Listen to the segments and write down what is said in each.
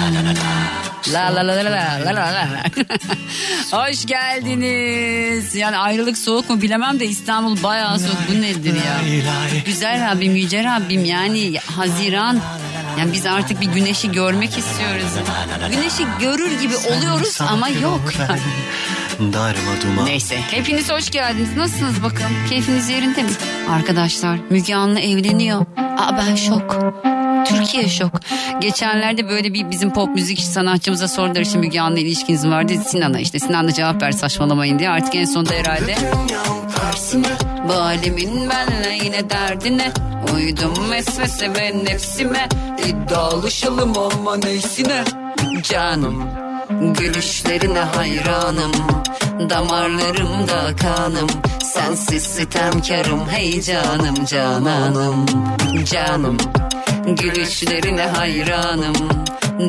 La la la la la la la la. Hoş geldiniz. Yani ayrılık soğuk mu bilemem de İstanbul bayağı soğuk. Bu nedir ya? Güzel Rabbim, yüce Rabbim yani Haziran. Yani biz artık bir güneşi görmek istiyoruz. Güneşi görür gibi oluyoruz ama yok. Darma duman. Neyse. Hepiniz hoş geldiniz. Nasılsınız bakalım? Keyfiniz yerinde mi? Arkadaşlar Müge Anlı evleniyor. Aa ben şok. Türkiye şok. Geçenlerde böyle bir bizim pop müzik sanatçımıza sordular işte Müge Anlı ilişkiniz mi var dedi Sinan'a işte. Sinan da cevap ver saçmalamayın diye. Artık en sonunda herhalde bu alemin benle yine derdine Uydum vesvese ve nefsime İddialışalım ama neysine Canım Gülüşlerine hayranım Damarlarımda kanım Sensiz sitemkarım Hey canım cananım Canım Gülüşlerine hayranım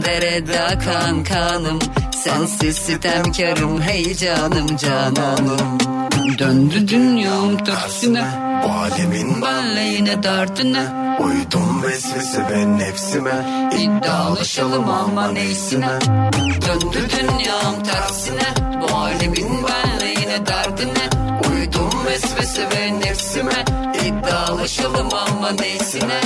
Derede akan kanım Sensiz sitemkarım Hey canım cananım Döndü dünyam tersine Bu alemin Benle yine dertine uydum vesvese ve nefsime İddialışalım ama neysine Döndü dünyam tersine Bu alemin benle yine derdine Uydum vesvese ve nefsime İddialışalım ama neysine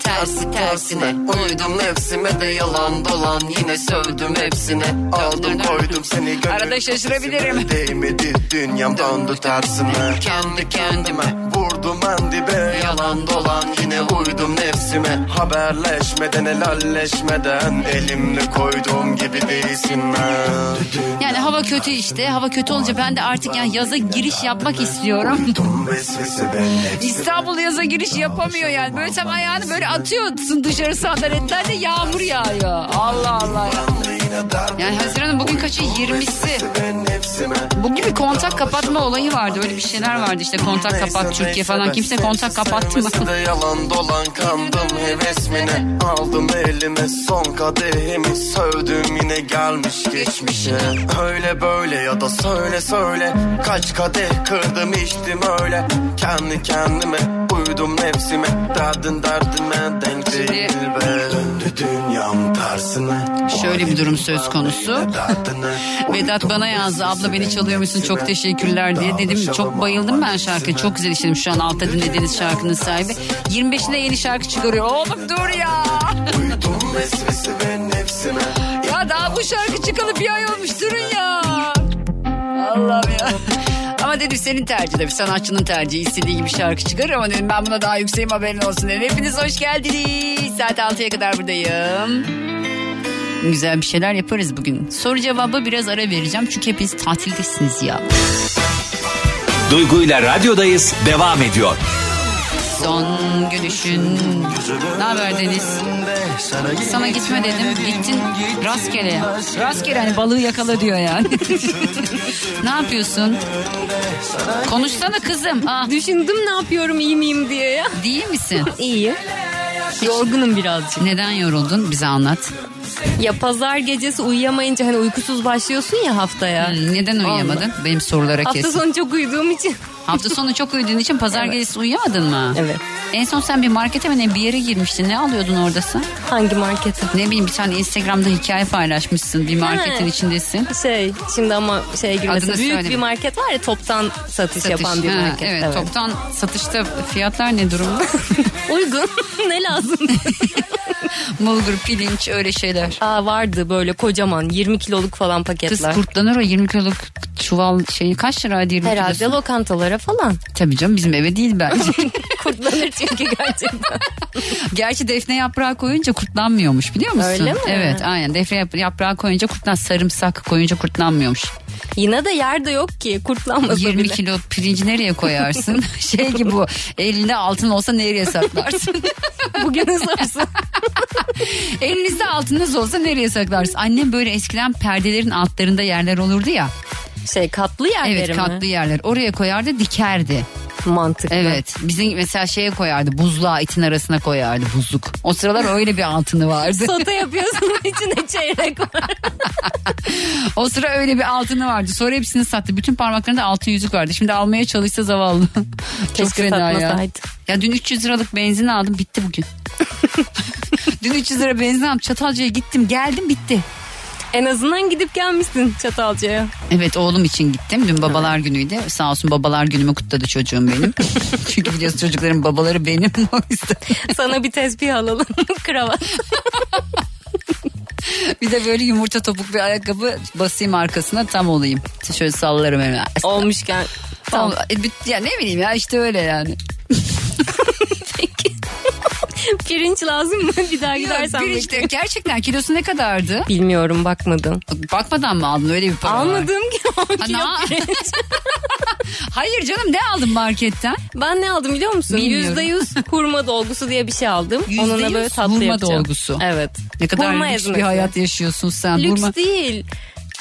Tersi tersine Uydum nefsime de yalan dolan Yine sövdüm hepsine Aldım koydum seni gönül Arada şaşırabilirim. sesime. Değmedi dünyam döndü tersine Kendi kendime Vurdum ben dibe Yalan dolan Yine uydum nefsime Haberleşmeden helalleşmeden Elimle koyduğum gibi değilsin ben Yani hava kötü işte Hava kötü olunca ben de artık yani yaza giriş yapmak istiyorum Uydum vesvese ve nefsime İstanbul yaza giriş yapamıyor yani. Böyle tam ayağını böyle atıyorsun dışarı sandaletlerle yağmur yağıyor. Allah Allah ya. Yine derdine Yani Haziran'ın bugün kaçı? 20'si. ve nefsime Bugün bir kontak kapatma olayı vardı. Öyle bir şeyler vardı işte kontak kapat Türkiye falan. Kimse kontak kapattı mı? Sevmesi de yalan dolan kandım hevesmine Aldım elime son kadehimi Sövdüm yine gelmiş geçmişe Öyle böyle ya da söyle söyle Kaç kadeh kırdım içtim öyle Kendi kendime uydum nefsime Derdin derdime denk Şimdi- değil be Döndü dünyam tersine Şöyle bir durum söz konusu. Vedat bana yazdı abla beni çalıyor musun çok teşekkürler diye dedim çok bayıldım ben şarkıya çok güzel işledim şu an altta dinlediğiniz şarkının sahibi 25'inde yeni şarkı çıkarıyor oğlum dur ya Uydum vesvese ve nefsime Ya daha bu şarkı çıkalı bir ay olmuş durun ya. Allah'ım ya. Ama dedim senin tercih tabii sanatçının tercihi istediği gibi şarkı çıkarır ama dedim ben buna daha yükseğim haberin olsun dedim. Hepiniz hoş geldiniz. Saat 6'ya kadar buradayım. Güzel bir şeyler yaparız bugün. Soru cevabı biraz ara vereceğim çünkü hepiniz tatildesiniz ya. Duygu ile radyodayız devam ediyor. Son gülüşün. Ne haber Deniz? Sana gitme dedim. Gittin rastgele. Rastgele hani balığı yakala diyor yani. ne yapıyorsun? Konuşsana kızım. Ah, Düşündüm ne yapıyorum iyi miyim diye ya. değil misin? İyiyim. Yorgunum birazcık. Neden yoruldun? Bize anlat. Ya pazar gecesi uyuyamayınca hani uykusuz başlıyorsun ya haftaya. Hmm, Neden uyuyamadın? Benim sorulara Hafta kes. sonu çok uyuduğum için. Hafta sonu çok uyuduğun için pazar gecesi uyuyamadın mı? Evet. En son sen bir markete mi ne bir yere girmiştin. Ne alıyordun orada sen? Hangi markete? Ne bileyim bir tane Instagram'da hikaye paylaşmışsın. Bir marketin içindesin. Şey şimdi ama şey gibi Adını mesela büyük söyleme. bir market var ya toptan satış, yapan bir Ha, market. evet, toptan satışta fiyatlar ne durumda? Uygun ne lazım? Bulgur, pirinç öyle şeyler. Aa vardı böyle kocaman 20 kiloluk falan Kız paketler. kurtlanır o 20 kiloluk çuval şeyi kaç lira diye Herhalde lokantalara falan. Tabii canım bizim eve değil bence. Kurtlanır çünkü gerçekten. Gerçi defne yaprağı koyunca kurtlanmıyormuş biliyor musun? Öyle mi? Evet aynen defne yap- yaprağı koyunca kurtlan sarımsak koyunca kurtlanmıyormuş. Yine de yerde yok ki kurtlanmasa 20 bile. kilo pirinci nereye koyarsın? şey gibi bu elinde altın olsa nereye saklarsın? Bugünün sorusu. Elinizde altınız olsa nereye saklarsın? Annem böyle eskiden perdelerin altlarında yerler olurdu ya. Şey katlı yerleri Evet mi? katlı yerler. Oraya koyardı dikerdi. Mantıklı. Evet. Bizim mesela şeye koyardı. Buzluğa itin arasına koyardı buzluk. O sıralar öyle bir altını vardı. Sote yapıyorsun içine çeyrek var. o sıra öyle bir altını vardı. Sonra hepsini sattı. Bütün parmaklarında altın yüzük vardı. Şimdi almaya çalışsa zavallı. Çok Keşke fena ya. satmasaydı. Ya dün 300 liralık benzin aldım bitti bugün. dün 300 lira benzin aldım. Çatalca'ya gittim geldim bitti. En azından gidip gelmişsin Çatalca'ya. Evet oğlum için gittim. Dün babalar günüydü. Sağ olsun babalar günümü kutladı çocuğum benim. Çünkü biliyorsun çocukların babaları benim. O yüzden. Sana bir tespih alalım. Kravat. Bir de böyle yumurta topuk bir ayakkabı basayım arkasına tam olayım. Şöyle sallarım hemen. Olmuşken. Tam, Tamam. e, bit- ya ne bileyim ya işte öyle yani. Pirinç lazım mı? Bir daha gidersen. Pirinç bekle. de- gerçekten kilosu ne kadardı? Bilmiyorum bakmadım. Bakmadan mı aldın öyle bir para var. Almadım ki. o Ha, kilo na- pirinç. Hayır canım ne aldın marketten? Ben ne aldım biliyor musun? Bilmiyorum. Yüzde yüz hurma dolgusu diye bir şey aldım. Yüzde Onunla yüz böyle tatlı hurma yapacağım. dolgusu. Evet. Ne kadar Hurma lüks bir ezmesi. hayat yaşıyorsun sen. Lüks Hurma- değil.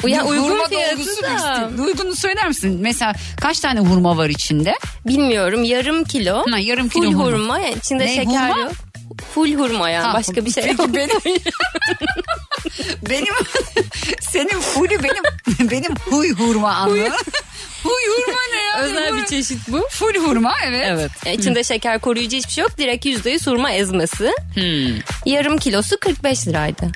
Ya Hurma uygun dolgusu fiyatı lüks da. değil. Uygunu söyler misin? Mesela kaç tane hurma var içinde? Bilmiyorum yarım kilo. Ha, yarım full kilo hurma. hurma. yani içinde Ne, şeker hurma? yok. Full hurma yani Ha, başka bir şey peki yok. Benim senin hulü benim benim huy hurma anladın. huy hurma ne ya? Özel bir çeşit bu. Full hurma evet. Evet. içinde şeker koruyucu hiçbir şey yok. Direkt yüzde yüz hurma ezmesi. Hmm. Yarım kilosu 45 liraydı.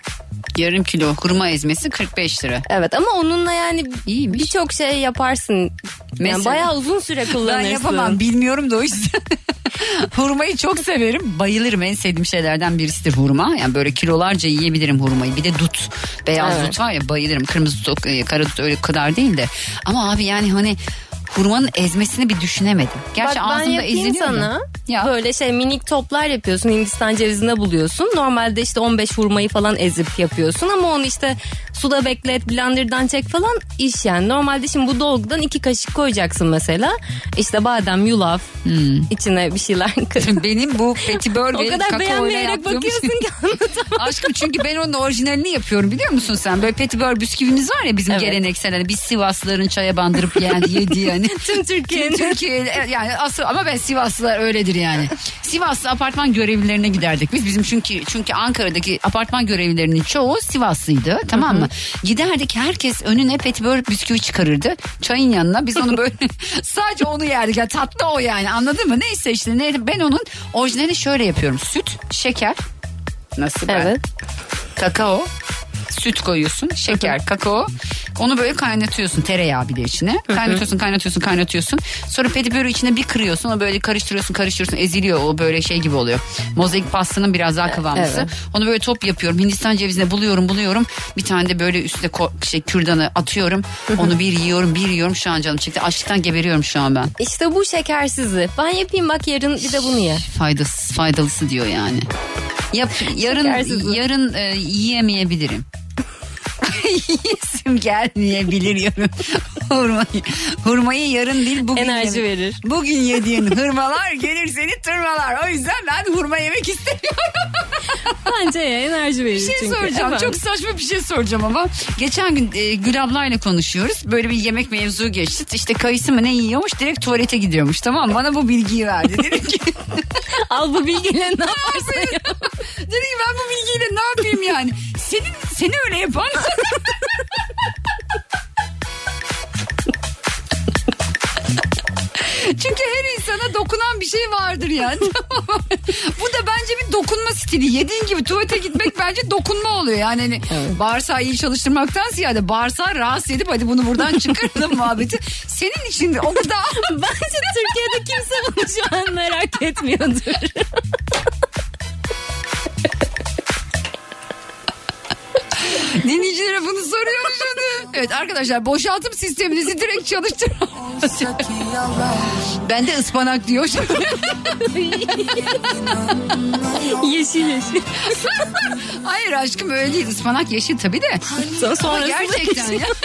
Yarım kilo hurma ezmesi 45 lira. Evet ama onunla yani İyiymiş. birçok şey yaparsın. Mesela? Yani bayağı uzun süre Ben kullanırsın. yapamam bilmiyorum da o yüzden. Hurmayı çok severim. Bayılırım en sevdiğim şeylerden birisidir hurma. Yani böyle kilolarca yiyebilirim hurmayı. Bir de dut. Beyaz Evet. dut var ya bayılırım. Kırmızı dut, e, kara dut öyle kadar değil de. Ama abi yani hani hurmanın ezmesini bir düşünemedim. Gerçi Bak ben ağzımda yapayım eziliyor sana. mu? Ya. Böyle şey minik toplar yapıyorsun. Hindistan cevizinde buluyorsun. Normalde işte 15 hurmayı falan ezip yapıyorsun. Ama onu işte suda beklet, blenderdan çek falan iş yani. Normalde şimdi bu dolgudan iki kaşık koyacaksın mesela. İşte badem, yulaf, Hmm. içine bir şeyler kırıp. Benim bu Betty O Burger kadar kakao ile beğenmeyerek yaptığım şey. bakıyorsun ki anlatamam. Aşkım çünkü ben onun orijinalini yapıyorum biliyor musun sen? Böyle petibör bisküvimiz var ya bizim Evet. geleneksel. Hani biz Sivaslıların çaya bandırıp yani yediği hani. Tüm Türkiye'nin. Türkiye yani asıl ama ben Sivaslılar öyledir yani. Sivaslı apartman görevlilerine giderdik biz. Bizim çünkü çünkü Ankara'daki apartman görevlilerinin çoğu Sivaslıydı tamam mı? Giderdik herkes önüne petibör bisküvi çıkarırdı. Çayın yanına biz onu böyle sadece onu yerdik. Yani tatlı o yani anladın mı? Neyse işte ne, ben onun orijinalini şöyle yapıyorum. Süt, şeker. Nasıl ben? Evet. kakao süt koyuyorsun şeker kakao onu böyle kaynatıyorsun tereyağı bir de içine kaynatıyorsun kaynatıyorsun kaynatıyorsun sonra petibörü içine bir kırıyorsun onu böyle karıştırıyorsun karıştırıyorsun eziliyor o böyle şey gibi oluyor mozaik pastanın biraz daha kıvamlısı Evet. onu böyle top yapıyorum hindistan cevizine buluyorum buluyorum bir tane de böyle üstüne ko- şey kürdanı atıyorum onu bir yiyorum bir yiyorum şu an canım çekti açlıktan geberiyorum şu an ben İşte bu şekersizi. Ben yapayım bak yarın bir de bunu ye. faydası faydalısı diyor yani. Yap, yarın Şekersiz. yarın e, yiyemeyebilirim. Yiyesim gelmeyebilir yarın. hurmayı, hurmayı yarın değil bugün. Enerji yeme- verir. Bugün yediğin hurmalar gelir seni tırmalar. O yüzden ben hurma yemek istemiyorum. Bence ye enerji verir Bir şey çünkü. soracağım. Evet. Çok saçma bir şey soracağım ama. Geçen gün e, Gül ablayla konuşuyoruz. Böyle bir yemek mevzu geçti. İşte kayısı mı ne yiyormuş direkt tuvalete gidiyormuş tamam mı? Bana bu bilgiyi verdi. Dedim ki Al bu bilgiyle ne yaparsın ya? Dedi ki ben bu bilgiyle ne yapayım yani? Senin seni öyle yapan. Çünkü her insana dokunan bir şey vardır yani. Bu da bence bir dokunma stili. Yediğin gibi tuvalete gitmek bence dokunma oluyor. Yani hani bağırsağı iyi çalıştırmaktan ziyade bağırsağı rahatsız edip hadi bunu buradan çıkaralım muhabbeti. Senin için de o gıda Bence Türkiye'de kimse bunu şu an merak etmiyordur. Dinleyicilere bunu soruyoruz şimdi. Evet arkadaşlar boşaltım sisteminizi direkt çalıştır. ben de ıspanak diyor. yeşil yeşil. Hayır aşkım öyle değil. Ispanak yeşil tabii de. Sonra Ama sonrasında gerçekten ya.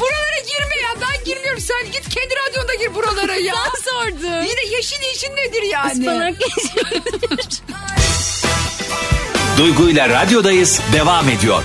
buralara girme ya. Ben girmiyorum. Sen git kendi radyonda gir buralara ya. Sen sordun. Yine yeşil yeşil nedir yani? Ispanak yeşil. Duygu ile radyodayız devam ediyor.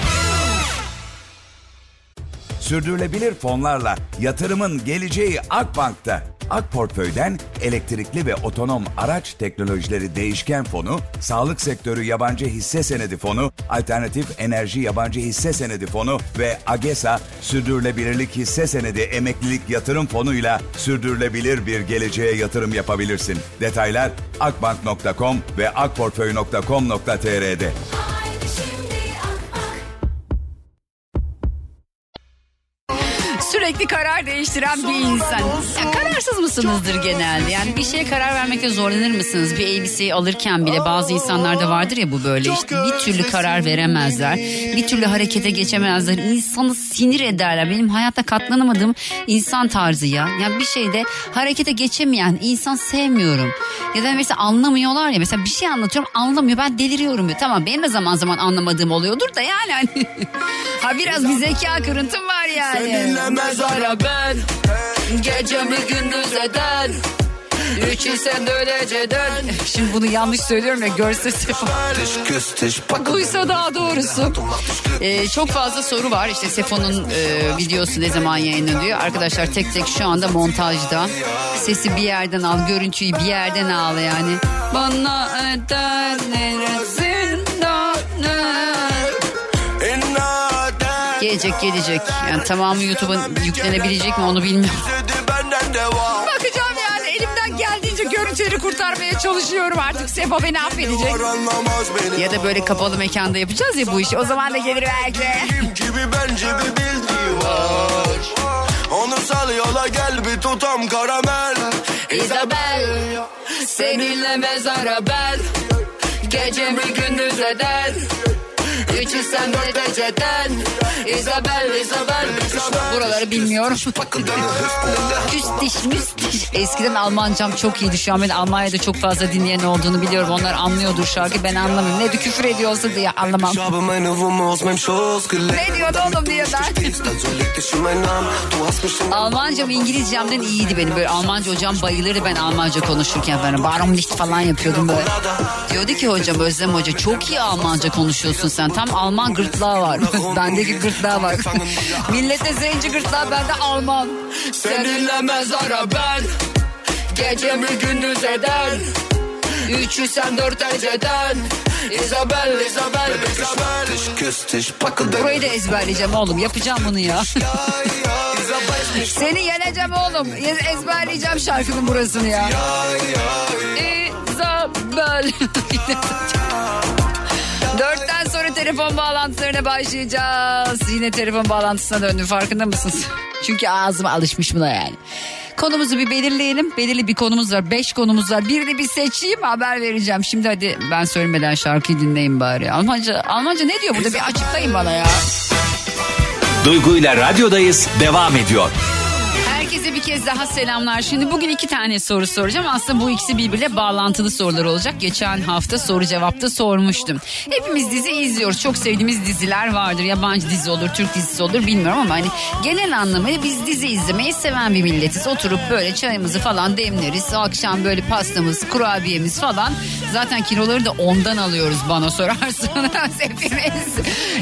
Sürdürülebilir fonlarla yatırımın geleceği Akbank'ta. Ak Portföy'den elektrikli ve otonom araç teknolojileri değişken fonu, sağlık sektörü yabancı hisse senedi fonu, alternatif enerji yabancı hisse senedi fonu ve AGESA sürdürülebilirlik hisse senedi emeklilik yatırım fonuyla sürdürülebilir bir geleceğe yatırım yapabilirsin. Detaylar akbank.com ve akportföy.com.tr'de. Sürekli karar değiştiren bir insan. Ya kararsız mısınızdır genelde? Yani bir şeye karar vermekte zorlanır mısınız? Bir elbiseyi alırken bile bazı insanlarda vardır ya bu böyle işte. Bir türlü karar veremezler. Bir türlü harekete geçemezler. İnsanı sinir ederler. Benim hayatta katlanamadığım insan tarzı ya. Ya bir şeyde harekete geçemeyen insan sevmiyorum. Ya da mesela anlamıyorlar ya. Mesela bir şey anlatıyorum anlamıyor. Ben deliriyorum diyor. Tamam benim de zaman zaman anlamadığım oluyordur da yani. hani. ha biraz bir zeka kırıntım var yani. Dinlemez ara ben Gece mi gündüz eden Üçü sen döneceden Şimdi bunu yanlış söylüyorum ya görse Sefa. Duysa daha doğrusu. Ee, çok fazla soru var. İşte Sefo'nun e, videosu ne zaman yayınlanıyor? Arkadaşlar tek tek şu anda montajda. Sesi bir yerden al, görüntüyü bir yerden al yani. Bana öder neresinden öder? Gelecek gelecek. Yani tamamı YouTube'a yüklenebilecek mi onu bilmiyorum. Benden devam Bakacağım yani elimden geldiğince görüntüleri kurtarmaya çalışıyorum artık. Sefa beni affedecek. Anlamaz beni Ya da böyle kapalı mekanda yapacağız ya bu işi. O zaman da gelir belki. Kim gibi bence bir bildiği var Onu sal yola gel bir tutam karamel Isabel Seninle mezara ben Gece mi gündüz eden Üçü sen de geceden Isabel, Isabel, Isabel Buraları bilmiyorum. müstiş müstiş. Eskiden Almancam çok iyiydi. Şu an ben Almanya'da çok fazla dinleyen olduğunu biliyorum. Onlar anlıyordur şarkı. Ben anlamıyorum. Ne de küfür ediyorsa diye anlamam. Ich habe meine Wumme aus meinem Schoß gelegt. Ne diyor oğlum diye ben. Stehst, also leg dich in meinen Arm. Du hast mich schon Almancam İngilizcemden iyiydi benim. Böyle Almanca hocam bayılırdı ben Almanca konuşurken falan. Barum nicht falan yapıyordum böyle. Diyordu ki hocam Özlem Hoca çok iyi Almanca konuşuyorsun sen. Tam Alman gırtlağı var. Bendeki gırtlağı var. Millete zenci gırtlağı bende Alman. Seninle mezara ben Gece mi gündüz eden Üçü sen dört eceden Isabel, Isabel, Isabel Ich küss dich, packe dich Burayı da ezberleyeceğim oğlum. Yapacağım bunu ya. Seni yeneceğim oğlum. Ye- Ezberleyeceğim şarkının burasını ya. İzabel. Dörtten sonra telefon bağlantılarına başlayacağız. Yine telefon bağlantısına döndüm farkında mısınız? Çünkü ağzıma alışmış buna yani. Konumuzu bir belirleyelim. Belirli bir konumuz var. Beş konumuz var. Birini bir seçeyim haber vereceğim. Şimdi hadi ben söylemeden şarkıyı dinleyin bari. Almanca, Almanca ne diyor burada? Bir açıklayın bana ya. Duygu ile radyodayız devam ediyor. Herkese bir kez daha selamlar. Şimdi bugün iki tane soru soracağım. Aslında bu ikisi birbiriyle bağlantılı sorular olacak. Geçen hafta soru cevapta sormuştum. Hepimiz dizi izliyoruz. Çok sevdiğimiz diziler vardır. Yabancı dizi olur, Türk dizisi olur bilmiyorum ama hani genel anlamıyla biz dizi izlemeyi seven bir milletiz. Oturup böyle çayımızı falan demleriz. Akşam böyle pastamız, kurabiyemiz falan. Zaten kiloları da ondan alıyoruz bana sorarsanız. Hepimiz,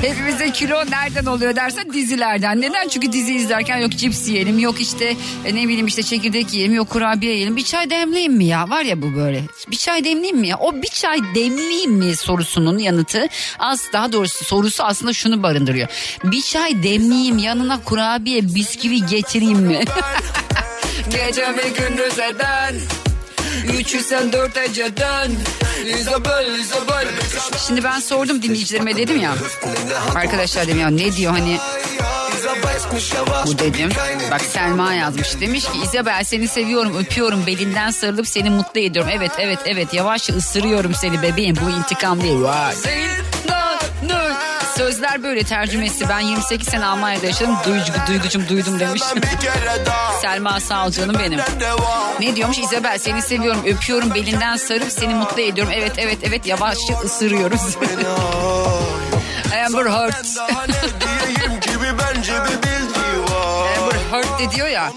hepimizin kilo nereden oluyor dersen dizilerden. Neden? Çünkü dizi izlerken yok cips yiyelim, yok işte e, ne bileyim işte çekirdek yiyelim, yok kurabiye yiyelim. Bir çay demleyeyim mi ya? Var ya bu böyle. Bir çay demleyeyim mi ya? O bir çay demleyeyim mi sorusunun yanıtı az daha doğrusu sorusu aslında şunu barındırıyor. Bir çay demleyeyim yanına kurabiye bisküvi getireyim mi? Gece mi gündüz eden Üçü sen dört eceden Isabel, Isabel Şimdi ben sordum dinleyicilerime dedim ya. Arkadaşlar dedim ya ne diyor hani bu dedim. Bak Selma yazmış. Demiş ki İzabel seni seviyorum öpüyorum belinden sarılıp seni mutlu ediyorum. Evet evet evet yavaşça ısırıyorum seni bebeğim bu intikam değil. Vay. Senin Sözler böyle tercümesi. Ben 28 sene Almanya'da yaşadım. Duygu, duygucum duydum demiş. Ben bir kere daha Selma Sağal canım benim. senden devam Ne diyormuş İzabel seni seviyorum öpüyorum belinden sarıp seni mutlu ediyorum. Evet evet evet yavaşça ısırıyoruz. Amber Heard. Ben daha ne diyeyim gibi bence bir bildiği var Amber Heard de diyor ya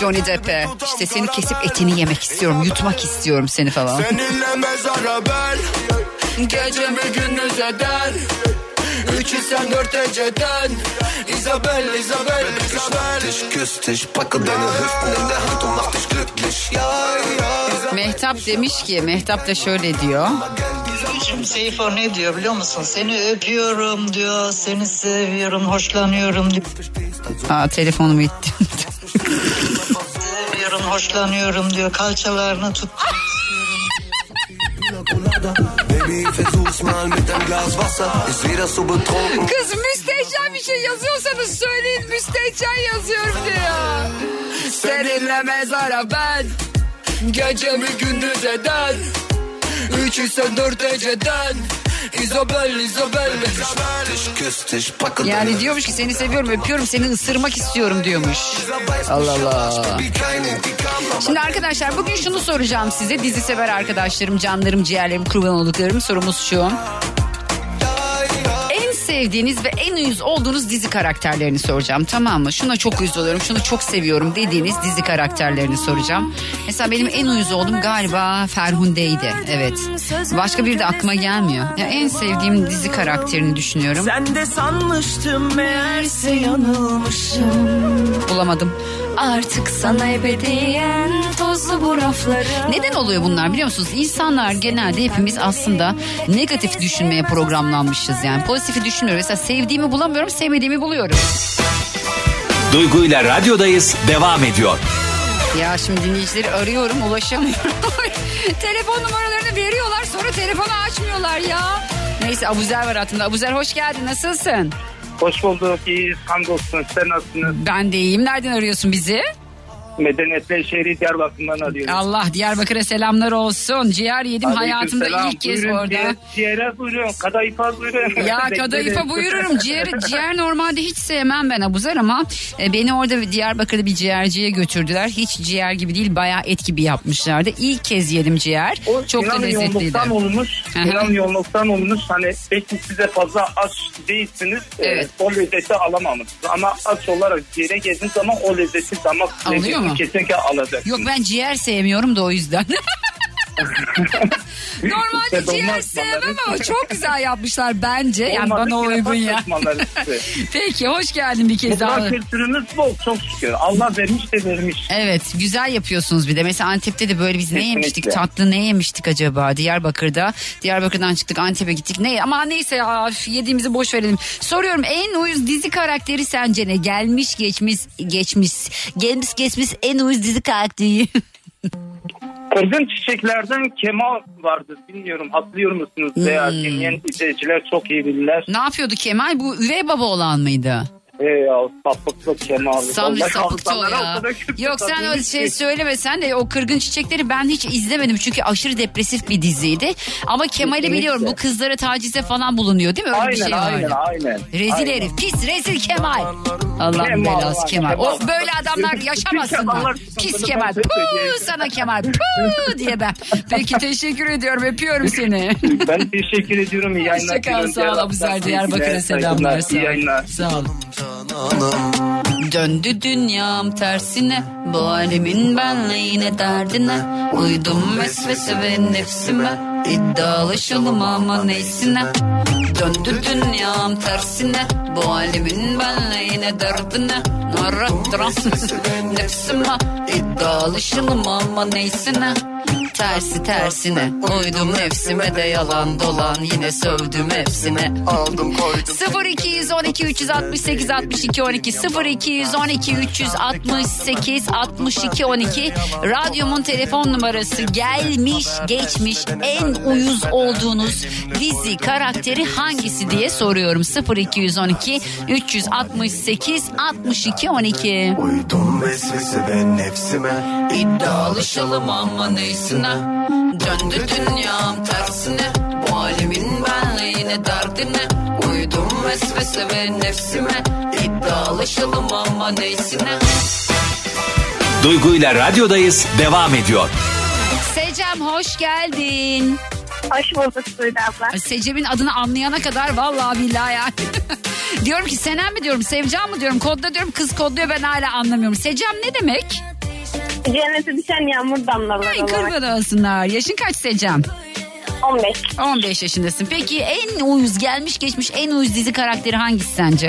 Johnny Depp'e işte seni kesip etini yemek istiyorum yutmak istiyorum seni falan. Seninle mezara ben Gece mi gündüz eder Üçü sen dört eceden Isabel, Isabel, Isabel Ich küss dich, packe deine Hüften in der Hand und mach dich glücklich. Ja, ja. Mehtap demiş ki Mehtap da şöyle diyor. Şimdi Seyfo ne diyor biliyor musun? Seni öpüyorum diyor, seni seviyorum, hoşlanıyorum diyor. Aa telefonum gitti. Seviyorum, hoşlanıyorum diyor. Kalçalarını tut. Baby, versuch's mal mit einem Glas Wasser. Ist wieder so betrunken. Kız müstehcen bir şey yazıyorsanız söyleyin müstehcen yazıyorum diyor. Seninle mezara ben Gecemi gündüz eden Üçü sen dört eceden Isabel, Isabel, Isabel Ich küss dich, packe Yani diyormuş ki seni seviyorum öpüyorum seni ısırmak istiyorum diyormuş. Allah Allah. wie keine, die kam am Şimdi arkadaşlar bugün şunu soracağım size. Dizi sever arkadaşlarım, canlarım, ciğerlerim, kurban olduklarım sorumuz şu. En sevdiğiniz ve en uyuz olduğunuz dizi karakterlerini soracağım tamam mı? Şuna çok uyuz oluyorum, şunu çok seviyorum dediğiniz dizi karakterlerini soracağım. Mesela benim en uyuz olduğum galiba Ferhunde'ydi. Evet. Başka bir de aklıma gelmiyor. Ya en sevdiğim dizi karakterini düşünüyorum. Ben de sanmıştım meğerse yanılmışım. Bulamadım. Artık sana ebediyen tozlu bu rafları. Neden oluyor bunlar biliyor musunuz? İnsanlar genelde hepimiz aslında negatif düşünmeye programlanmışız yani. Pozitifi düşünmüyorum. Mesela sevdiğimi bulamıyorum, sevmediğimi buluyorum. Duygu ile radyodayız devam ediyor. Ya şimdi dinleyicileri arıyorum, ulaşamıyorum. Telefon numaralarını veriyorlar sonra telefonu açmıyorlar ya. Neyse Abuzer var hattında. Abuzer hoş geldin, nasılsın? Hoş bulduk. İyiyiz. Hamdolsun. Sen nasılsınız? Ben de iyiyim. Nereden arıyorsun bizi? Medeniyetle şehri Diyarbakır'dan arıyoruz. Allah Diyarbakır'a selamlar olsun. Ciğer yedim hayatımda Aleykümselam. ilk kez Buyurun, orada. Ciğer, ciğere buyurun. Kadayıfa buyurun. Ya Bekleriz. kadayıfa buyururum. Ciğer, ciğer normalde hiç sevmem ben Abuzer ama e, beni orada bir Diyarbakır'da bir ciğerciye götürdüler. Hiç ciğer gibi değil bayağı et gibi yapmışlardı. İlk kez yedim ciğer. O Çok da İran lezzetliydi. yoğunluktan olmuş. Hı hı. İran yoğunluktan olmuş. Hani belki size fazla aç değilsiniz. Evet. Ee, o lezzeti alamamışsınız. Ama aç olarak ciğere gezdiğiniz zaman o lezzeti damak Alıyor lezzetini mu? kesinlikle alacaksınız. Yok ben ciğer sevmiyorum da o yüzden. Normalde İşte dolma ciğer ısmarları. sevmem ama çok güzel yapmışlar bence. Yani Olmadı bana ki uygun laf ya. atmaları size. Peki hoş geldin bir kez daha. Mutfak kültürümüz bol çok şükür. Allah vermiş de vermiş. Evet güzel yapıyorsunuz bir de. Mesela Antep'te de böyle biz ne Kesinlikle. yemiştik tatlı ne yemiştik acaba Diyarbakır'da. Diyarbakır'dan çıktık Antep'e gittik. Ne ama neyse ya üf, yediğimizi boş verelim. Soruyorum en uyuz dizi karakteri sence ne? Gelmiş geçmiş geçmiş gelmiş geçmiş en uyuz dizi karakteri. Kırgın çiçeklerden Kemal vardı. Bilmiyorum hatırlıyor musunuz? Hmm. Veya dinleyen izleyiciler çok iyi bilirler. ne yapıyordu Kemal? Bu üvey baba olan mıydı? Ee, ya, sapıklı Kemal. Samri Vallahi sapıktı o hafızalara ya. o kadar kötü Yok sen o satılmış şey ki. söyleme sen de o kırgın çiçekleri ben hiç izlemedim çünkü aşırı depresif bir diziydi. Ama Kemal'i Kesinlikle. biliyorum bu kızlara tacize falan bulunuyor değil mi? Öyle bir Aynen şey var. aynen aynen. Rezil aynen. herif pis rezil Kemal. Allah'ın Kemal, belası Allah, Kemal. Kemal. O böyle adamlar Pis yaşamasınlar. adamlar Pis sınıfını Kemal. ben pek Puuu beğenmiyorum. sana Kemal. Puuu diye ben. Peki teşekkür ediyorum öpüyorum seni. Ben teşekkür ediyorum. İyi yayınlar. Hoşça kal sağ ol Abuzer Diyarbakır'a selamlar. Sağ İyi yayınlar. ol. Sağ ol. Döndü dünyam tersine Bu alemin benle yine derdine Uydum vesvese ve nefsime İddialaşalım ama neysine Döndü dünyam tersine Bu alemin benle yine derdine Narattıran nefsime İddialaşalım ama neysine Tersi tersine Uydum nefsime de yalan dolan Yine sövdüm hepsine Aldım koydum. 0212 368 62 12 0212 368 62 12 radyomun telefon numarası gelmiş geçmiş en uyuz olduğunuz dizi karakteri hangisi diye soruyorum 0212 368 62 12 Uydum vesvese ve nefsime. İddialışalım ama neysine Döndü dünyam tersine Bu alemin benle yine derdine Uy Uydum vesvese ve nefsime İddialaşalım ama neysine Duygu ile radyodayız devam ediyor. Secem hoş geldin. Hoş bulduk Duygu abla. Secem'in adını anlayana kadar vallahi billahi ya. diyorum ki Senem mi diyorum, Sevcan mı diyorum, kodda diyorum, kız kodluyor ben hala anlamıyorum. Secem ne demek? Cennete düşen yağmur damlaları Ay olarak. kurban olsunlar. Yaşın kaç Secem? 15. 15 yaşındasın. Peki en uyuz gelmiş geçmiş en uyuz dizi karakteri hangisi sence?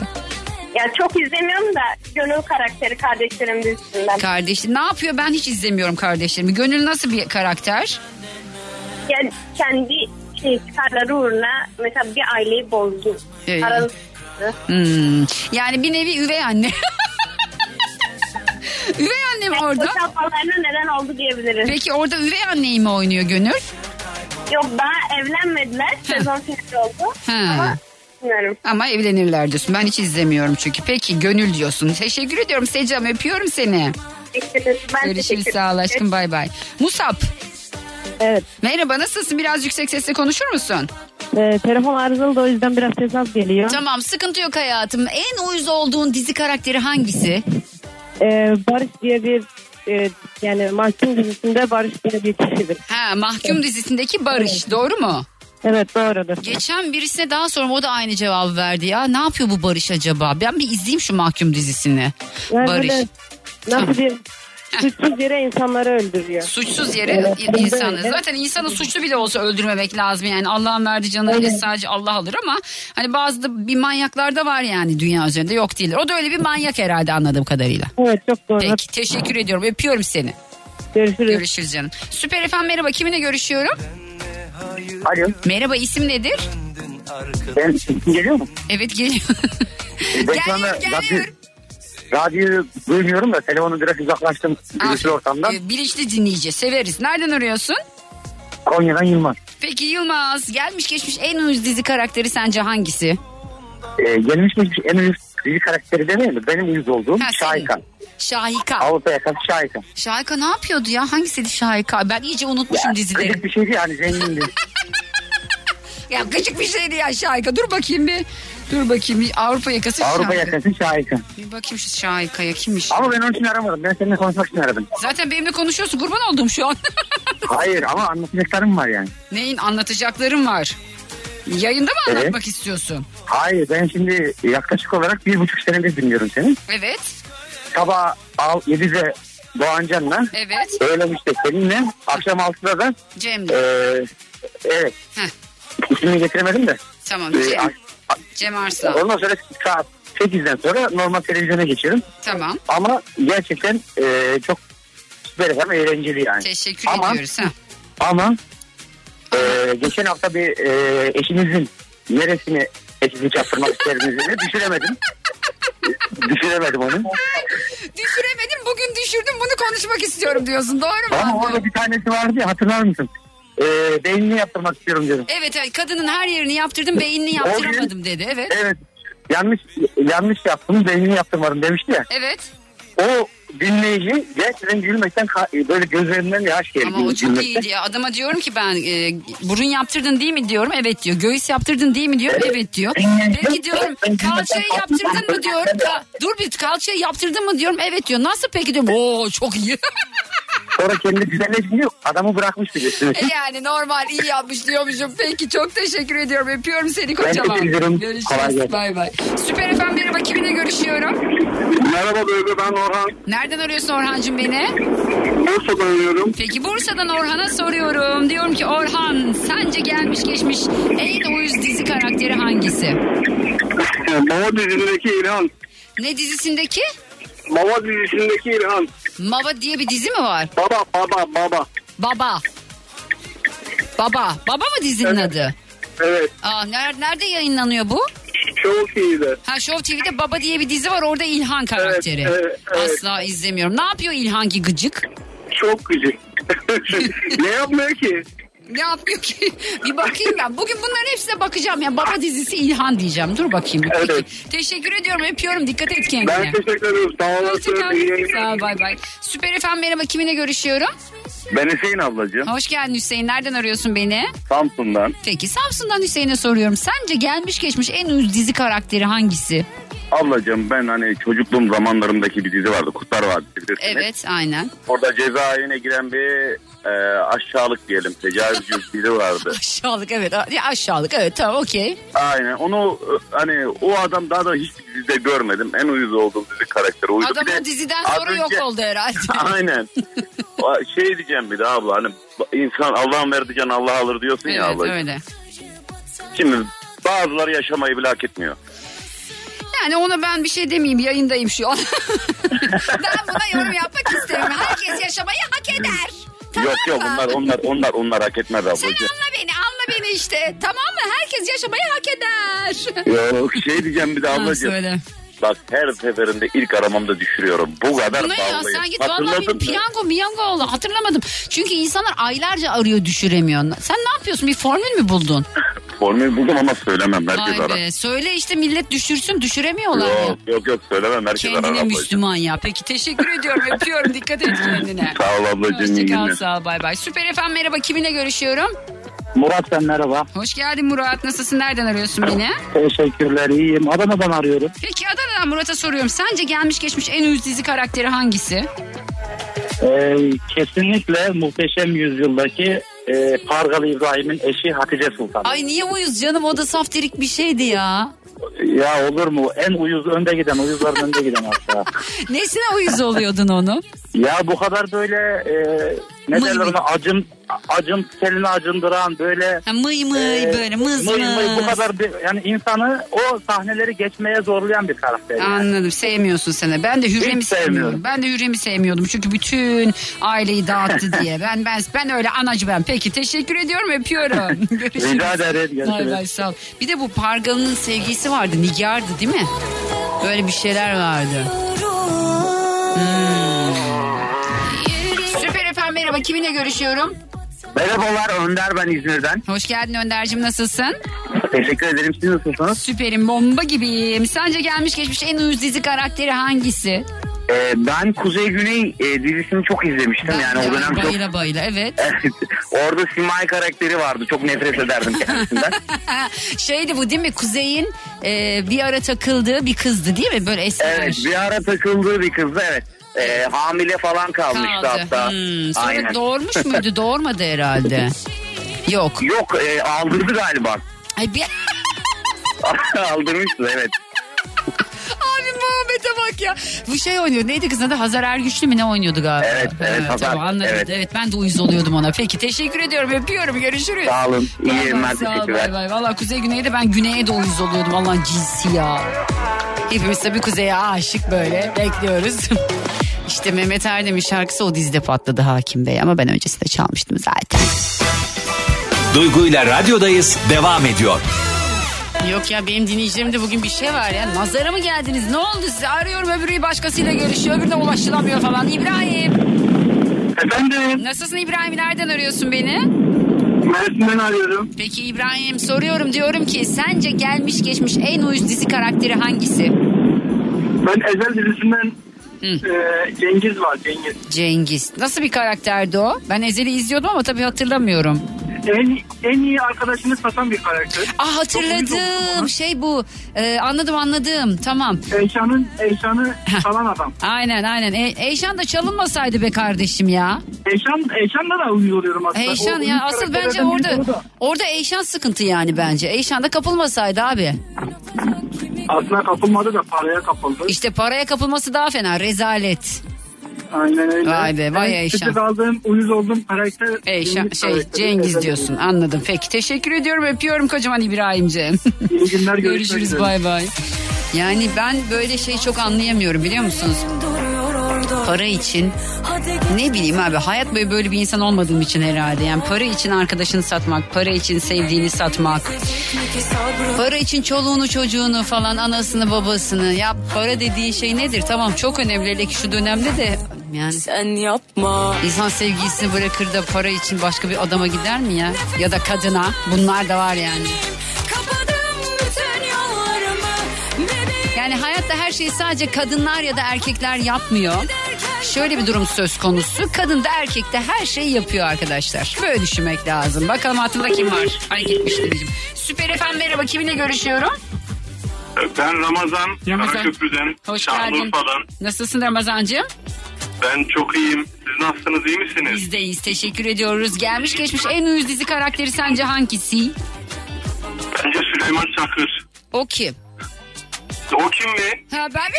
Ya çok izlemiyorum da gönül karakteri kardeşlerim dizisinden. Kardeşim ne yapıyor ben hiç izlemiyorum kardeşlerimi. Gönül nasıl bir karakter? Yani kendi şey, çıkarları uğruna mesela bir aileyi bozdu. Evet. Aralıksızdı. Hmm. Yani bir nevi üvey anne. üvey anne mi orada? Boşanmalarına neden oldu diyebiliriz. Peki orada üvey anneyi mi oynuyor Gönül? Yok daha evlenmediler. Sezon finali oldu. Ha. Bilmiyorum. Ama evlenirler diyorsun. Ben hiç izlemiyorum çünkü. Peki gönül diyorsun. Teşekkür ediyorum Secam. Öpüyorum seni. Teşekkür ederim. Ben Görüşürüz teşekkür sağ ol ederim. aşkım. Bay bay. Musab. Evet. Merhaba nasılsın? Biraz yüksek sesle konuşur musun? Ee, telefon arızalı da o yüzden biraz ses geliyor. Tamam sıkıntı yok hayatım. En uyuz olduğun dizi karakteri hangisi? Ee, Barış diye bir e, yani mahkum dizisinde Barış diye bir kişidir. Ha Mahkum dizisindeki Barış doğru mu? Evet doğrudur. Geçen birisine daha sonra o da aynı cevabı verdi ya. Ne yapıyor bu Barış acaba? Ben bir izleyeyim şu Mahkum dizisini. Yani Barış. böyle Nasıl bir suçsuz yere insanları öldürüyor. Suçsuz yere Evet, i- insanı. böyle. Zaten insanı suçlu bile olsa öldürmemek lazım yani. Allah'ın verdiği canı öyle Evet. sadece Allah alır ama hani bazı da bir manyaklar da var yani dünya üzerinde yok değiller. O da öyle bir manyak herhalde anladığım kadarıyla. Evet çok doğru. Peki teşekkür ediyorum. Öpüyorum seni. Görüşürüz. Görüşürüz canım. Süper efendim merhaba. Kiminle görüşüyorum? Alo. Merhaba isim nedir? Ben sesim geliyor mu? Evet geliyor. Ben şu anda radyo, radyoyu duymuyorum da telefonu direkt uzaklaştım gürültülü ortamdan. Ee, Bilinçli dinleyici severiz. Nereden arıyorsun? Konya'dan Yılmaz. Peki Yılmaz gelmiş geçmiş en uyuz dizi karakteri sence hangisi? Ee, gelmiş geçmiş en uyuz dizi karakteri demeyelim de benim uyuz olduğum Şahika. Şahika. Avrupa yakası Şahika. Şahika ne yapıyordu ya? Hangisiydi Şahika? Ben iyice unutmuşum dizileri. Gıcık bir şeydi yani zengindi. Ya gıcık bir şeydi ya Şahika. Dur bakayım bir. Dur bakayım bir. Avrupa yakası Avrupa Şahika. yakası Şahika. Bir bakayım şu Şahika'ya kimmiş? Ama ben onun için aramadım. Ben seninle konuşmak için aradım. Zaten benimle konuşuyorsun. Kurban oldum şu an. Hayır ama anlatacaklarım var yani. Neyin anlatacaklarım var. Yayında mı Evet. anlatmak istiyorsun? Hayır ben şimdi yaklaşık olarak bir buçuk senedir dinliyorum seni. Evet. Sabah al, 7'de Doğancan'la. Evet. Öğlen işte şey. seninle. Akşam 6'da da. Cem'le. Ee, evet. Heh. İsmini getiremedim de. Tamam Ee, Cem. ak- Cem Arslan. Ondan sonra saat 8'den sonra normal televizyona geçiyorum. Tamam. Ama gerçekten ee, çok süper efendim eğlenceli yani. Teşekkür Ama- ediyoruz. Ha. Ama ee, geçen hafta bir ee, eşinizin neresini eşinizi çarptırmak istediğinizi düşüremedim. düşüremedim onu. Düşüremedim bugün düşürdüm bunu konuşmak istiyorum diyorsun doğru mu? Ama orada bir tanesi vardı ya hatırlar mısın? Ee, beynini yaptırmak istiyorum dedim. Evet evet, kadının her yerini yaptırdım beynini O gün- yaptıramadım dedi evet. Evet. Yanlış yanlış yaptım beynini yaptırmadım demişti ya. Evet. O dinleyici gerçekten gülmekten ka- böyle gözlerinden yaş geldi. Ama o çok gülmekten. iyiydi ya. Adama diyorum ki ben e, burun yaptırdın değil mi diyorum. Evet diyor. Göğüs yaptırdın değil mi diyorum. Evet diyor. Peki diyorum kalçayı yaptırdın mı diyorum. Ka- Dur bir kalçayı yaptırdın mı diyorum. Evet diyor. Nasıl peki diyorum. Oo çok iyi. Sonra kendi güzelleşmiyor. Adamı bırakmış biliyorsunuz. E yani normal iyi yapmış diyormuşum. Peki çok teşekkür ediyorum. Öpüyorum seni Ben kocaman. teşekkür ederim. Kolay Görüşürüz. gelsin. Bay bay. Süper efendim merhaba. Kiminle görüşüyorum? Merhaba Duygu ben Orhan. Nereden arıyorsun Orhan'cığım beni? Bursa'dan arıyorum. Peki Bursa'dan Orhan'a soruyorum. Diyorum ki Orhan sence gelmiş geçmiş en uyuz dizi karakteri hangisi? Mava dizisindeki İlhan. Ne dizisindeki? Mava dizisindeki İlhan. Mava diye bir dizi mi var? Baba baba baba. Baba. Baba. Baba mı dizinin adı? Evet. Aa, ner- nerede yayınlanıyor bu? Show TV'de. Ha Show TV'de Baba diye bir dizi var orada İlhan karakteri. evet, evet. Asla izlemiyorum. Ne yapıyor İlhan ki gıcık? Çok gıcık. ne yapmıyor ki? Ne yapıyor ki? bir bakayım ben. Bugün bunların hepsine bakacağım ya. Baba dizisi İlhan diyeceğim. Dur bakayım. bir. Peki. Teşekkür ediyorum. Öpüyorum. Dikkat et kendine. Ben teşekkür ederim. Sağ Hoşça kal. olasın. İyi yayınlar. Sağ ol. Bay bay. Süper efendim merhaba. Kiminle görüşüyorum? Ben Hüseyin ablacığım. Hoş geldin Hüseyin. Nereden arıyorsun beni? Samsun'dan. Peki Samsun'dan Hüseyin'e soruyorum. Sence gelmiş geçmiş en uyuz dizi karakteri hangisi? Ablacığım ben hani çocukluğum zamanlarımdaki bir dizi vardı. Kurtlar Vadisi bilirsiniz. Evet aynen. Orada cezaevine giren bir e, aşağılık diyelim tecavüzcü biri vardı. Aşağılık evet. A- ya Aşağılık evet tamam okey. Aynen onu e, hani o adam daha da hiç dizide görmedim. En uyuz olduğum dizi karakteri uydu. Bir Adamın de diziden az sonra yok önce- oldu herhalde. Aynen. O- şey diyeceğim bir de abla hani insan Allah'ın verdiği can Allah alır diyorsun ya Evet abla. öyle. Şimdi bazıları yaşamayı bile hak etmiyor. Yani ona ben bir şey demeyeyim yayındayım şu an. ben buna yorum yapmak istemiyorum. Herkes yaşamayı hak eder. yok yok bunlar onlar onlar onlar hak etmez Sen ablacığım. anla beni anla beni işte tamam mı? Herkes yaşamayı hak eder. Yok şey diyeceğim bir de ablacığım. söyle. Bak her seferinde ilk aramamda düşürüyorum. Bu kadar Bu ne ya ballıyım. sen git vallahi Hatırladın bir mı? piyango miyango oldu hatırlamadım. Çünkü insanlar aylarca arıyor düşüremiyor. Sen ne yapıyorsun bir formül mü buldun? Formülü buldum ama söylemem. Herkes Vay arar. be, söyle işte millet düşürsün düşüremiyorlar ya. Yok yok yok söylemem. Herkes arar Kendine ablacığım. Müslüman ya. Peki teşekkür ediyorum öpüyorum dikkat et kendine. Sağ ol ablacığım. iyi Hoşçakal günler. sağ ol bay bay. Süper efendim merhaba kiminle görüşüyorum? Murat ben merhaba. Hoş geldin Murat nasılsın nereden arıyorsun beni? Teşekkürler iyiyim. Adana'dan arıyorum. Peki Adana'dan Murat'a soruyorum. Sence gelmiş geçmiş en uyuz dizi karakteri hangisi? Ee, kesinlikle muhteşem yüzyıldaki e, Pargalı İbrahim'in eşi Hatice Sultan. Ay niye uyuz canım o da saftirik bir şeydi ya. Ya olur mu? En uyuz önde giden, uyuzların önde giden hatta. Nesine uyuz oluyordun onu? Ya bu kadar böyle e, ne derler ona acım acım telini acındıran böyle Ha, mıy mıy böyle, mız mıy mız. mıy Ee, bu kadar bir, yani insanı o sahneleri geçmeye zorlayan bir karakter. yani. Anladım sevmiyorsun seni. Ben de Hürrem'i Hiç sevmiyorum. sevmiyorum. Ben de Hürrem'i sevmiyordum çünkü bütün aileyi dağıttı diye. Ben ben ben öyle anacı ben. Peki teşekkür ediyorum öpüyorum. Görüşürüz. Rica ederim, görüşürüz. Bay bay, sağ ol. Bir de bu Pargalı'nın sevgilisi vardı Nigar'dı değil mi? Böyle bir şeyler vardı. Hmm. Süper efendim merhaba kiminle görüşüyorum? Merhabalar Önder ben İzmir'den. Hoş geldin Önder'cim nasılsın? Teşekkür ederim siz nasılsınız? Süperim bomba gibiyim. Sence gelmiş geçmiş en uyuz dizi karakteri hangisi? Ee, ben Kuzey Güney e, dizisini çok izlemiştim yani o dönem çok. Bayıla bayıla evet. Orada Simay karakteri vardı çok nefret ederdim kendisinden. Şeydi bu değil mi? Kuzey'in e, bir ara takıldığı bir kızdı değil mi? Böyle esmer. evet bir ara takıldığı bir kızdı evet. Ee, hamile falan kalmıştı Kaldı. hatta. Hmm, sonra doğurmuş muydu? Doğurmadı herhalde. Yok. Yok e, aldırdı galiba. Ay bir... Aldırmıştı evet. Abi Muhammed'e bak ya. Bu şey oynuyor. Neydi kızın adı? Hazar Ergüçlü mü ne oynuyordu galiba? Evet, Hazar, tamam, anladım. Evet. evet. ben de uyuz oluyordum ona. Peki teşekkür ediyorum. Öpüyorum. Görüşürüz. Sağ olun, iyi Bay bay, yayınlar, sağ ol, teşekkürler. Bay bay. Valla Kuzey Güney'de ben Güney'e de uyuz oluyordum. Allah'ın cinsi ya. Hepimiz tabii Kuzey'e aşık böyle bekliyoruz. işte Mehmet Erdem'in şarkısı o dizide patladı Hakim Bey ama ben öncesinde çalmıştım zaten. Duygu ile radyodayız devam ediyor. Yok ya benim dinleyicilerimde bugün bir şey var ya. Nazara mı geldiniz? Ne oldu size? Arıyorum öbürü başkasıyla görüşüyor. Öbürüne ulaşılamıyor falan. İbrahim. Efendim? Nasılsın İbrahim? Nereden arıyorsun beni? Mersin'den arıyorum. Peki İbrahim soruyorum diyorum ki sence gelmiş geçmiş en uyuz dizi karakteri hangisi? Ben Ezel dizisinden e, Cengiz var Cengiz. Cengiz. Nasıl bir karakterdi o? Ben Ezel'i izliyordum ama tabii hatırlamıyorum. En, en iyi arkadaşını satan bir karakter. Ah Çok uyuz hatırladım. olduğum Şey bu. Ee, anladım anladım. Tamam. zaman. Eyşan'ın Eyşan'ı salan adam. Aynen aynen. E, Eyşan da çalınmasaydı be kardeşim ya. Eyşan, Eyşan'da da uyuz oluyorum aslında. Eyşan O ya uyuz asıl bence karakterlerden birisi o orada da. orada Eyşan sıkıntı yani bence. Eyşan da kapılmasaydı abi. Aslında kapılmadı da paraya kapıldı. İşte paraya kapılması daha fena rezalet. Aynen öyle. Vay be, vay En Eyşan. Küçük aldığım uyuz olduğum karakter Eyşan Cengiz şey karakteri. Cengiz Ezel diyorsun dizisi. anladım. Peki teşekkür ediyorum öpüyorum kocaman İbrahim'ciğim. İyi günler, görüşmek Görüşürüz üzere. bay bay. Yani ben böyle şeyi çok anlayamıyorum biliyor musunuz? Para için ne bileyim abi hayat boyu böyle bir insan olmadığım için herhalde. Yani para için arkadaşını satmak, para için sevdiğini satmak. Para için çoluğunu çocuğunu falan anasını babasını ya para dediği şey nedir tamam çok önemli hele ki şu dönemde de yani sen yapma insan sevgilisini bırakır da para için başka bir adama gider mi ya ya da kadına bunlar da var yani yani hayatta her şeyi sadece kadınlar ya da erkekler yapmıyor şöyle bir durum söz konusu. Kadın da erkek de her şeyi yapıyor arkadaşlar. Böyle düşünmek lazım. Bakalım altında kim var? Ay gitmiş dedim. Süper efendim merhaba kiminle görüşüyorum? Ben Ramazan, Ramazan. Karaköprü'den, Hoş geldin. Şanlıurfa'dan. Nasılsın Ramazancığım? Ben çok iyiyim. Siz nasılsınız, iyi misiniz? Bizdeyiz teşekkür ediyoruz. Gelmiş geçmiş en uyuz dizi karakteri sence hangisi? Bence Süleyman Çakır. O kim? O kim mi? Ha ben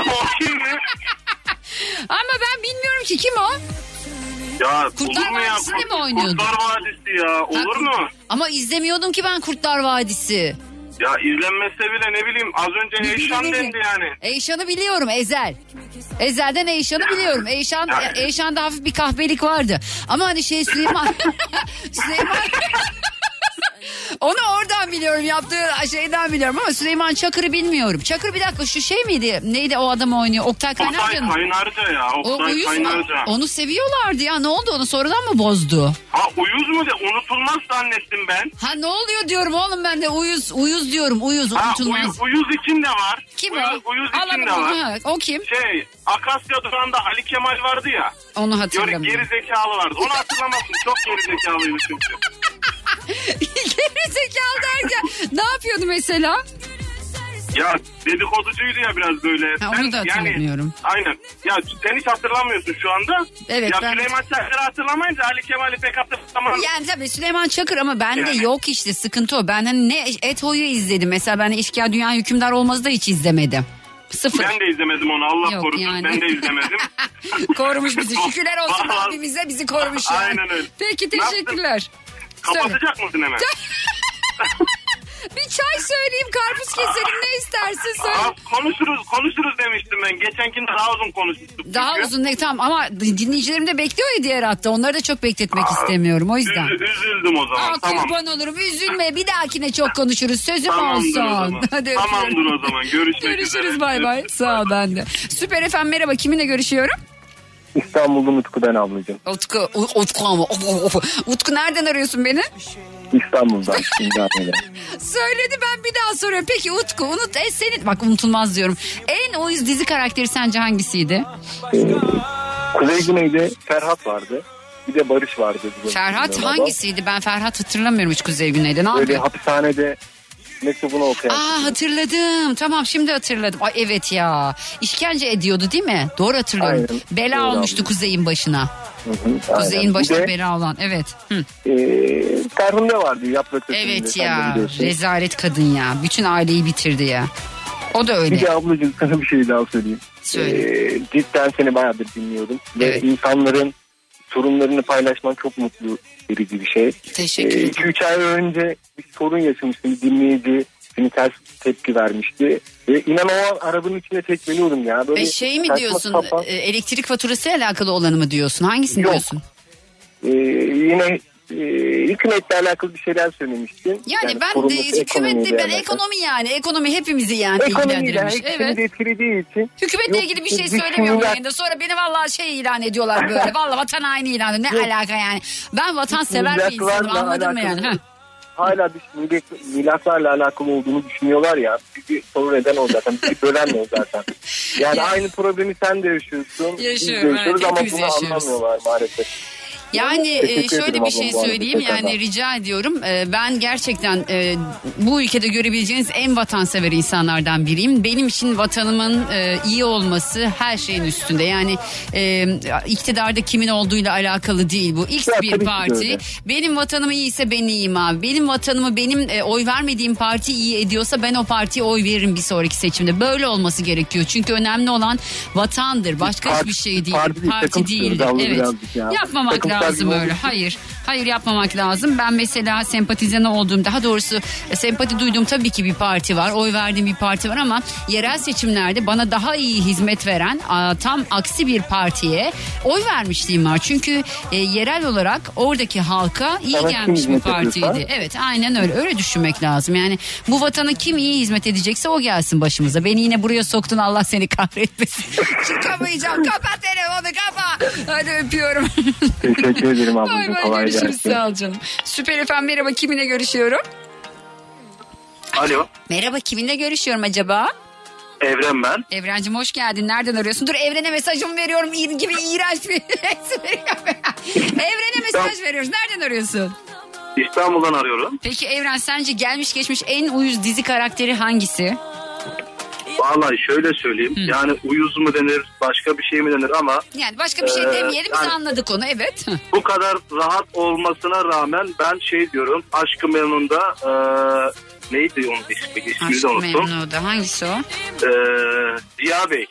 o kim mi? Ama ben bilmiyorum ki kim o? Ya Kurtlar olur mu ya? Vadisi'nde mi oynuyordu? Kurtlar Vadisi ya, olur mu? Ama izlemiyordum ki ben Kurtlar Vadisi. Ya izlenmese bile ne bileyim az önce Eyşan dendi yani. Eyşan'ı biliyorum Ezel. Ezel'den Eyşan'ı biliyorum. Eyşan, Eyşan'da hafif bir kahvelik vardı. Ama hani şey Süleyman... Süleyman... Onu oradan biliyorum yaptığı şeyden biliyorum ama Süleyman Çakır'ı bilmiyorum. Çakır bir dakika şu şey miydi? Neydi o adam oynuyor? Oktay Oktay Kaynarca mı? Kaynarca ya, O Oktay uyuz mu? Kaynarca. Onu seviyorlardı ya. Ne oldu onu sonradan mı bozdu? Ha uyuz mu de unutulmaz zannettim ben. Ha ne oluyor diyorum oğlum ben de uyuz uyuz diyorum uyuz Ha, unutulmaz. uyu- uyuz için de var. Kim Uyuz- o? Uyuz Al için de adamı, var. ha, o kim? Şey, Akasya Duran'da Ali Kemal vardı ya. Onu Geri, hatırlamıyorum. geri zekalı vardı. Onu hatırlamazsın. Çok geri zekalıydı çünkü. Geri zekalı derken ne yapıyordu mesela? Ya dedikoducuydu ya biraz böyle. Ha, onu da hatırlamıyorum. aynen. Ya sen hiç hatırlamıyorsun şu anda. Evet, Ya ben- Süleyman Çakır'ı hatırlamayınca Ali Kemal'i pek hatırlamam. Yani tabii Süleyman Çakır ama bende Yani. yok işte sıkıntı o. Ben hani ne Et Hoy'u izledim. Mesela ben İşgal Dünya Hükümdar Olmaz'ı da hiç izlemedim. Sıfır. Ben de izlemedim onu Allah Yok korusun. yani. Ben de izlemedim. Korumuş bizi. Şükürler olsun Vallahi- Rabbimize bizi korumuş yani. Aynen öyle. şey. Peki Ne yaptın? teşekkürler. Kapatacak mısın hemen? Bir çay söyleyeyim karpuz keselim ne istersin söyle. Aa, konuşuruz konuşuruz demiştim ben. Geçenkinde daha uzun konuşmuştuk. Daha çünkü. uzun ne tamam ama dinleyicilerim de bekliyor ya diğer hatta. Onları da çok bekletmek istemiyorum o yüzden. Üzü- üzüldüm o zaman. Aa, tamam. kurban olurum üzülme bir dahakine çok konuşuruz sözüm Tamamdır o olsun. zaman. Hadi öpüyorum. Tamamdır o zaman. Görüşmek üzere. Görüşürüz bay bay. Sağ ol ben de. Süper efendim merhaba kiminle görüşüyorum? İstanbul'dan Utku ben ablacığım. Utku, U- Utku ama of, of, of. Utku nereden arıyorsun beni? İstanbul'dan. İmdaniye'den. Söyledi ben bir daha soruyorum. Peki Utku unut e, seni bak unutulmaz diyorum. En uyuz dizi karakteri sence hangisiydi? Ee, Kuzey Güney'de Ferhat vardı. Bir de Barış vardı. bizim Ferhat bizim adam. hangisiydi? Ben Ferhat hatırlamıyorum hiç Kuzey Güney'de. Ne Böyle yapıyor? hapishanede mektubunu okuyan. Aa hatırladım. Tamam şimdi hatırladım. Ay evet ya. İşkence ediyordu değil mi? Doğru hatırlıyorum. Aynen. Bela Doğru olmuştu Kuzey'in başına. Hı hı, aynen. Kuzey'in başına Bir de, bela olan. Evet. Hı. Ee, Ferhunde vardı yaprak dökümünde, Evet sen de ya. biliyorsun. Rezalet kadın ya. Bütün aileyi bitirdi ya. O da öyle. Bir de ablacığım sana bir şey daha söyleyeyim. Söyle. Ee, cidden seni bayağıdır dinliyordum. Ve insanların sorunlarını paylaşman çok mutlu verici bir şey. Teşekkür ederim. 2-3 ay önce bir sorun yaşamıştım. Bir dinleyici seni ters tepki vermişti. Ve inan o an arabanın içine tekmeliyordum ya. Böyle E, şey mi saçma diyorsun? sapan- e, Elektrik faturası ile alakalı olanı mı diyorsun? Hangisini Yok. diyorsun? Ee, yine e, hükümetle alakalı bir şeyler söylemiştin. Yani, ben sorumlusu de hükümetle ekonomiyle ben alakalı. ekonomi yani ekonomi hepimizi yani Ekonomiyle ilgilendirmiş. hepsini Evet. getirdiği için. Hükümetle Yok, e, ilgili bir işte şey biz söylemiyorum bunlar- yayında. Sonra beni vallahi şey ilan ediyorlar böyle. Vallahi vatan haini ilan ediyor. Ne alaka yani? Ben vatansever bir insanım Milletlerle anladın mı yani? Ha. alakalı- Hala biz millet- milletlerle alakalı olduğunu düşünüyorlar ya. Bizi sorun eden o zaten. Bizi bölen de o zaten. Yani aynı problemi sen de yaşıyorsun. biz de Yaşıyorum, evet, yaşıyoruz ama hepimiz bunu yaşıyoruz. anlamıyorlar maalesef. Yani e, Teşekkür şöyle ederim bir şey ablam bu arada, söyleyeyim tekrardan. yani rica ediyorum. E, Ben gerçekten e, bu ülkede görebileceğiniz en vatansever insanlardan biriyim. Benim için vatanımın e, iyi olması her şeyin üstünde. Yani e, iktidarda kimin olduğuyla alakalı değil bu. X Ya, bir tabii ki de parti. öyle. Benim vatanım iyiyse ben iyiyim abi. Benim vatanımı benim e, oy vermediğim parti iyi ediyorsa ben o partiye oy veririm bir sonraki seçimde. Böyle olması gerekiyor. Çünkü önemli olan vatandır. Başka Parti- hiçbir şey değil. parti Parti, değil. değil, takım tutuyoruz abla Evet. birazcık ya. Yapmamak Takım lazım terbiye öyle. olduğu için. Hayır. Hayır yapmamak lazım. Ben mesela sempatizan olduğum daha doğrusu e, sempati duyduğum tabii ki bir parti var. Oy verdiğim bir parti var ama yerel seçimlerde bana daha iyi hizmet veren a, tam aksi bir partiye oy vermişliğim var. Çünkü e, yerel olarak oradaki halka iyi Sana kim gelmiş bir hizmet ediyorsa? partiydi. Evet aynen öyle. Öyle düşünmek lazım. Yani bu vatana kim iyi hizmet edecekse o gelsin başımıza. Beni yine buraya soktun Allah seni kahretmesin. Çıkamayacağım. Kapat telefonu kapa. Hadi öpüyorum. Teşekkür ederim Bay ablacığım. bay, Kolay görüşürüz. gelsin. Sağ ol canım. Süper efendim merhaba kiminle görüşüyorum? Alo. Merhaba kiminle görüşüyorum acaba? Evren ben. Evrencim hoş geldin. Nereden arıyorsun? Dur Evren'e mesajımı veriyorum. İ- gibi iğrenç bir Evren'e mesaj veriyoruz. Nereden arıyorsun? İstanbul'dan arıyorum. Peki Evren sence gelmiş geçmiş en uyuz dizi karakteri hangisi? Vallahi şöyle söyleyeyim. Yani uyuz mu denir, başka bir şey mi denir ama Yani başka bir şey Ee, demeyelim. Biz yani- anladık onu. Evet. bu kadar rahat olmasına rağmen ben şey diyorum. Aşkı Memnun'da eee, neydi onun ismi? İsmini de Aşk unuttum. Memnu'da hangisi o? Eee Ee, Ziya Bey.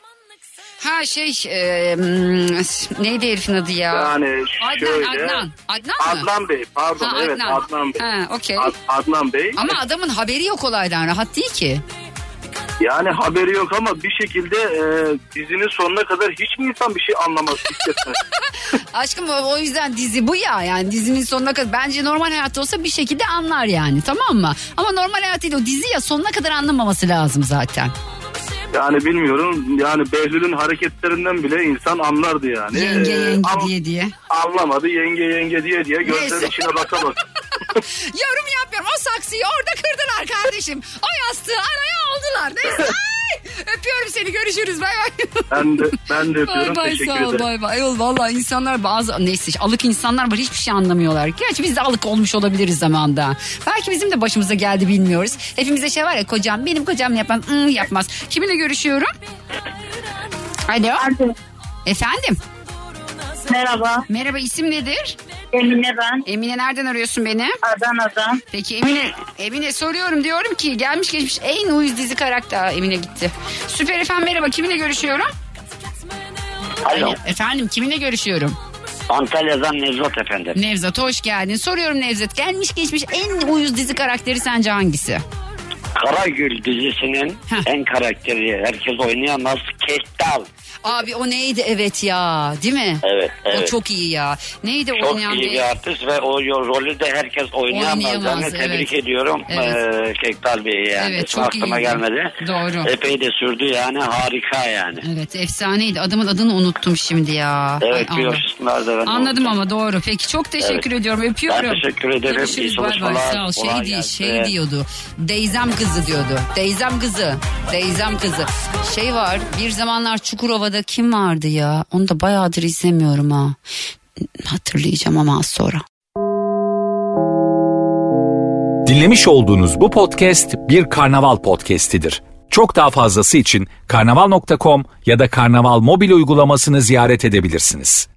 Ha şey e, hmm, neydi herifin adı ya? Yani Adnan, şöyle. Adnan. Adnan mı? Adnan Bey pardon Ha, evet Adnan. Adnan, Bey. Ha, okey. Ad- Adnan Bey. Ama adamın haberi yok olaydan rahat değil ki. Yani haberi yok ama bir şekilde eee dizinin sonuna kadar hiç mi insan bir şey anlamaz? hissetmez? Aşkım o- o yüzden dizi bu ya yani dizinin sonuna kadar bence normal hayatta olsa bir şekilde anlar yani tamam mı? Ama normal hayat değil o dizi ya sonuna kadar anlamaması lazım zaten. yani bilmiyorum yani Behlül'ün hareketlerinden bile insan anlardı yani. Yenge Eee, yenge Ee, ama diye diye. Anlamadı yenge yenge diye diye Neyse. gözlerin içine baka baka. Yorum yapmıyorum o saksıyı orada kırdılar kardeşim. O yastığı araya aldılar neyse. Ay, öpüyorum seni görüşürüz bay bay. Ben de, ben de öpüyorum bay teşekkür sağ ol ederim. bay bay. Ayol valla insanlar bazı neyse işte alık insanlar var hiçbir şey anlamıyorlar. Gerçi biz de alık olmuş olabiliriz zamanda. Belki bizim de başımıza geldi bilmiyoruz. Hepimize şey var ya kocam benim kocam yapan ıı, yapmaz. Kiminle görüşüyorum? Alo. Efendim. Merhaba. Merhaba isim nedir? Emine ben. Emine nereden arıyorsun beni? Adana'dan. Peki Emine, Emine soruyorum diyorum ki gelmiş geçmiş en uyuz dizi karakter Aa, Emine gitti. Süper efendim merhaba kiminle görüşüyorum? Alo. Efendim kiminle görüşüyorum? Antalya'dan Nevzat efendim. Nevzat hoş geldin. Soruyorum Nevzat gelmiş geçmiş en uyuz dizi karakteri sence hangisi? Karagül dizisinin en karakteri herkes oynayamaz. Kestal. Abi o neydi evet ya değil mi? Evet, O evet. çok iyi ya. Neydi Çok oynayan iyi bir... bir artist ve o yo- rolü de herkes oynayamaz. Oynayamaz, yani tebrik evet. ediyorum Evet. ee, Kestal Bey'i yani. Evet, Evet, çok aklıma iyiydi. gelmedi. Doğru. Epey de sürdü yani harika yani. Evet efsaneydi adamın adını unuttum şimdi ya. Evet Ay, bir Allah. yaşlılar da ben Anladım ama doğru. Peki çok teşekkür Evet. ediyorum. Öpüyorum. Ben teşekkür ederim. Görüşürüz. İyi Bay bay. çalışmalar. Sağ ol. Şey, Kolay diye- gelsin. şey diyordu. Deyzem kızı diyordu. Deyzem kızı. Deyzem kızı. Şey var. Bir zamanlar Çukurova'da kim vardı ya? Onu da bayağıdır izlemiyorum ha. Hatırlayacağım ama az sonra. Dinlemiş olduğunuz bu podcast bir karnaval podcastidir. Çok daha fazlası için karnaval.com ya da karnaval mobil uygulamasını ziyaret edebilirsiniz.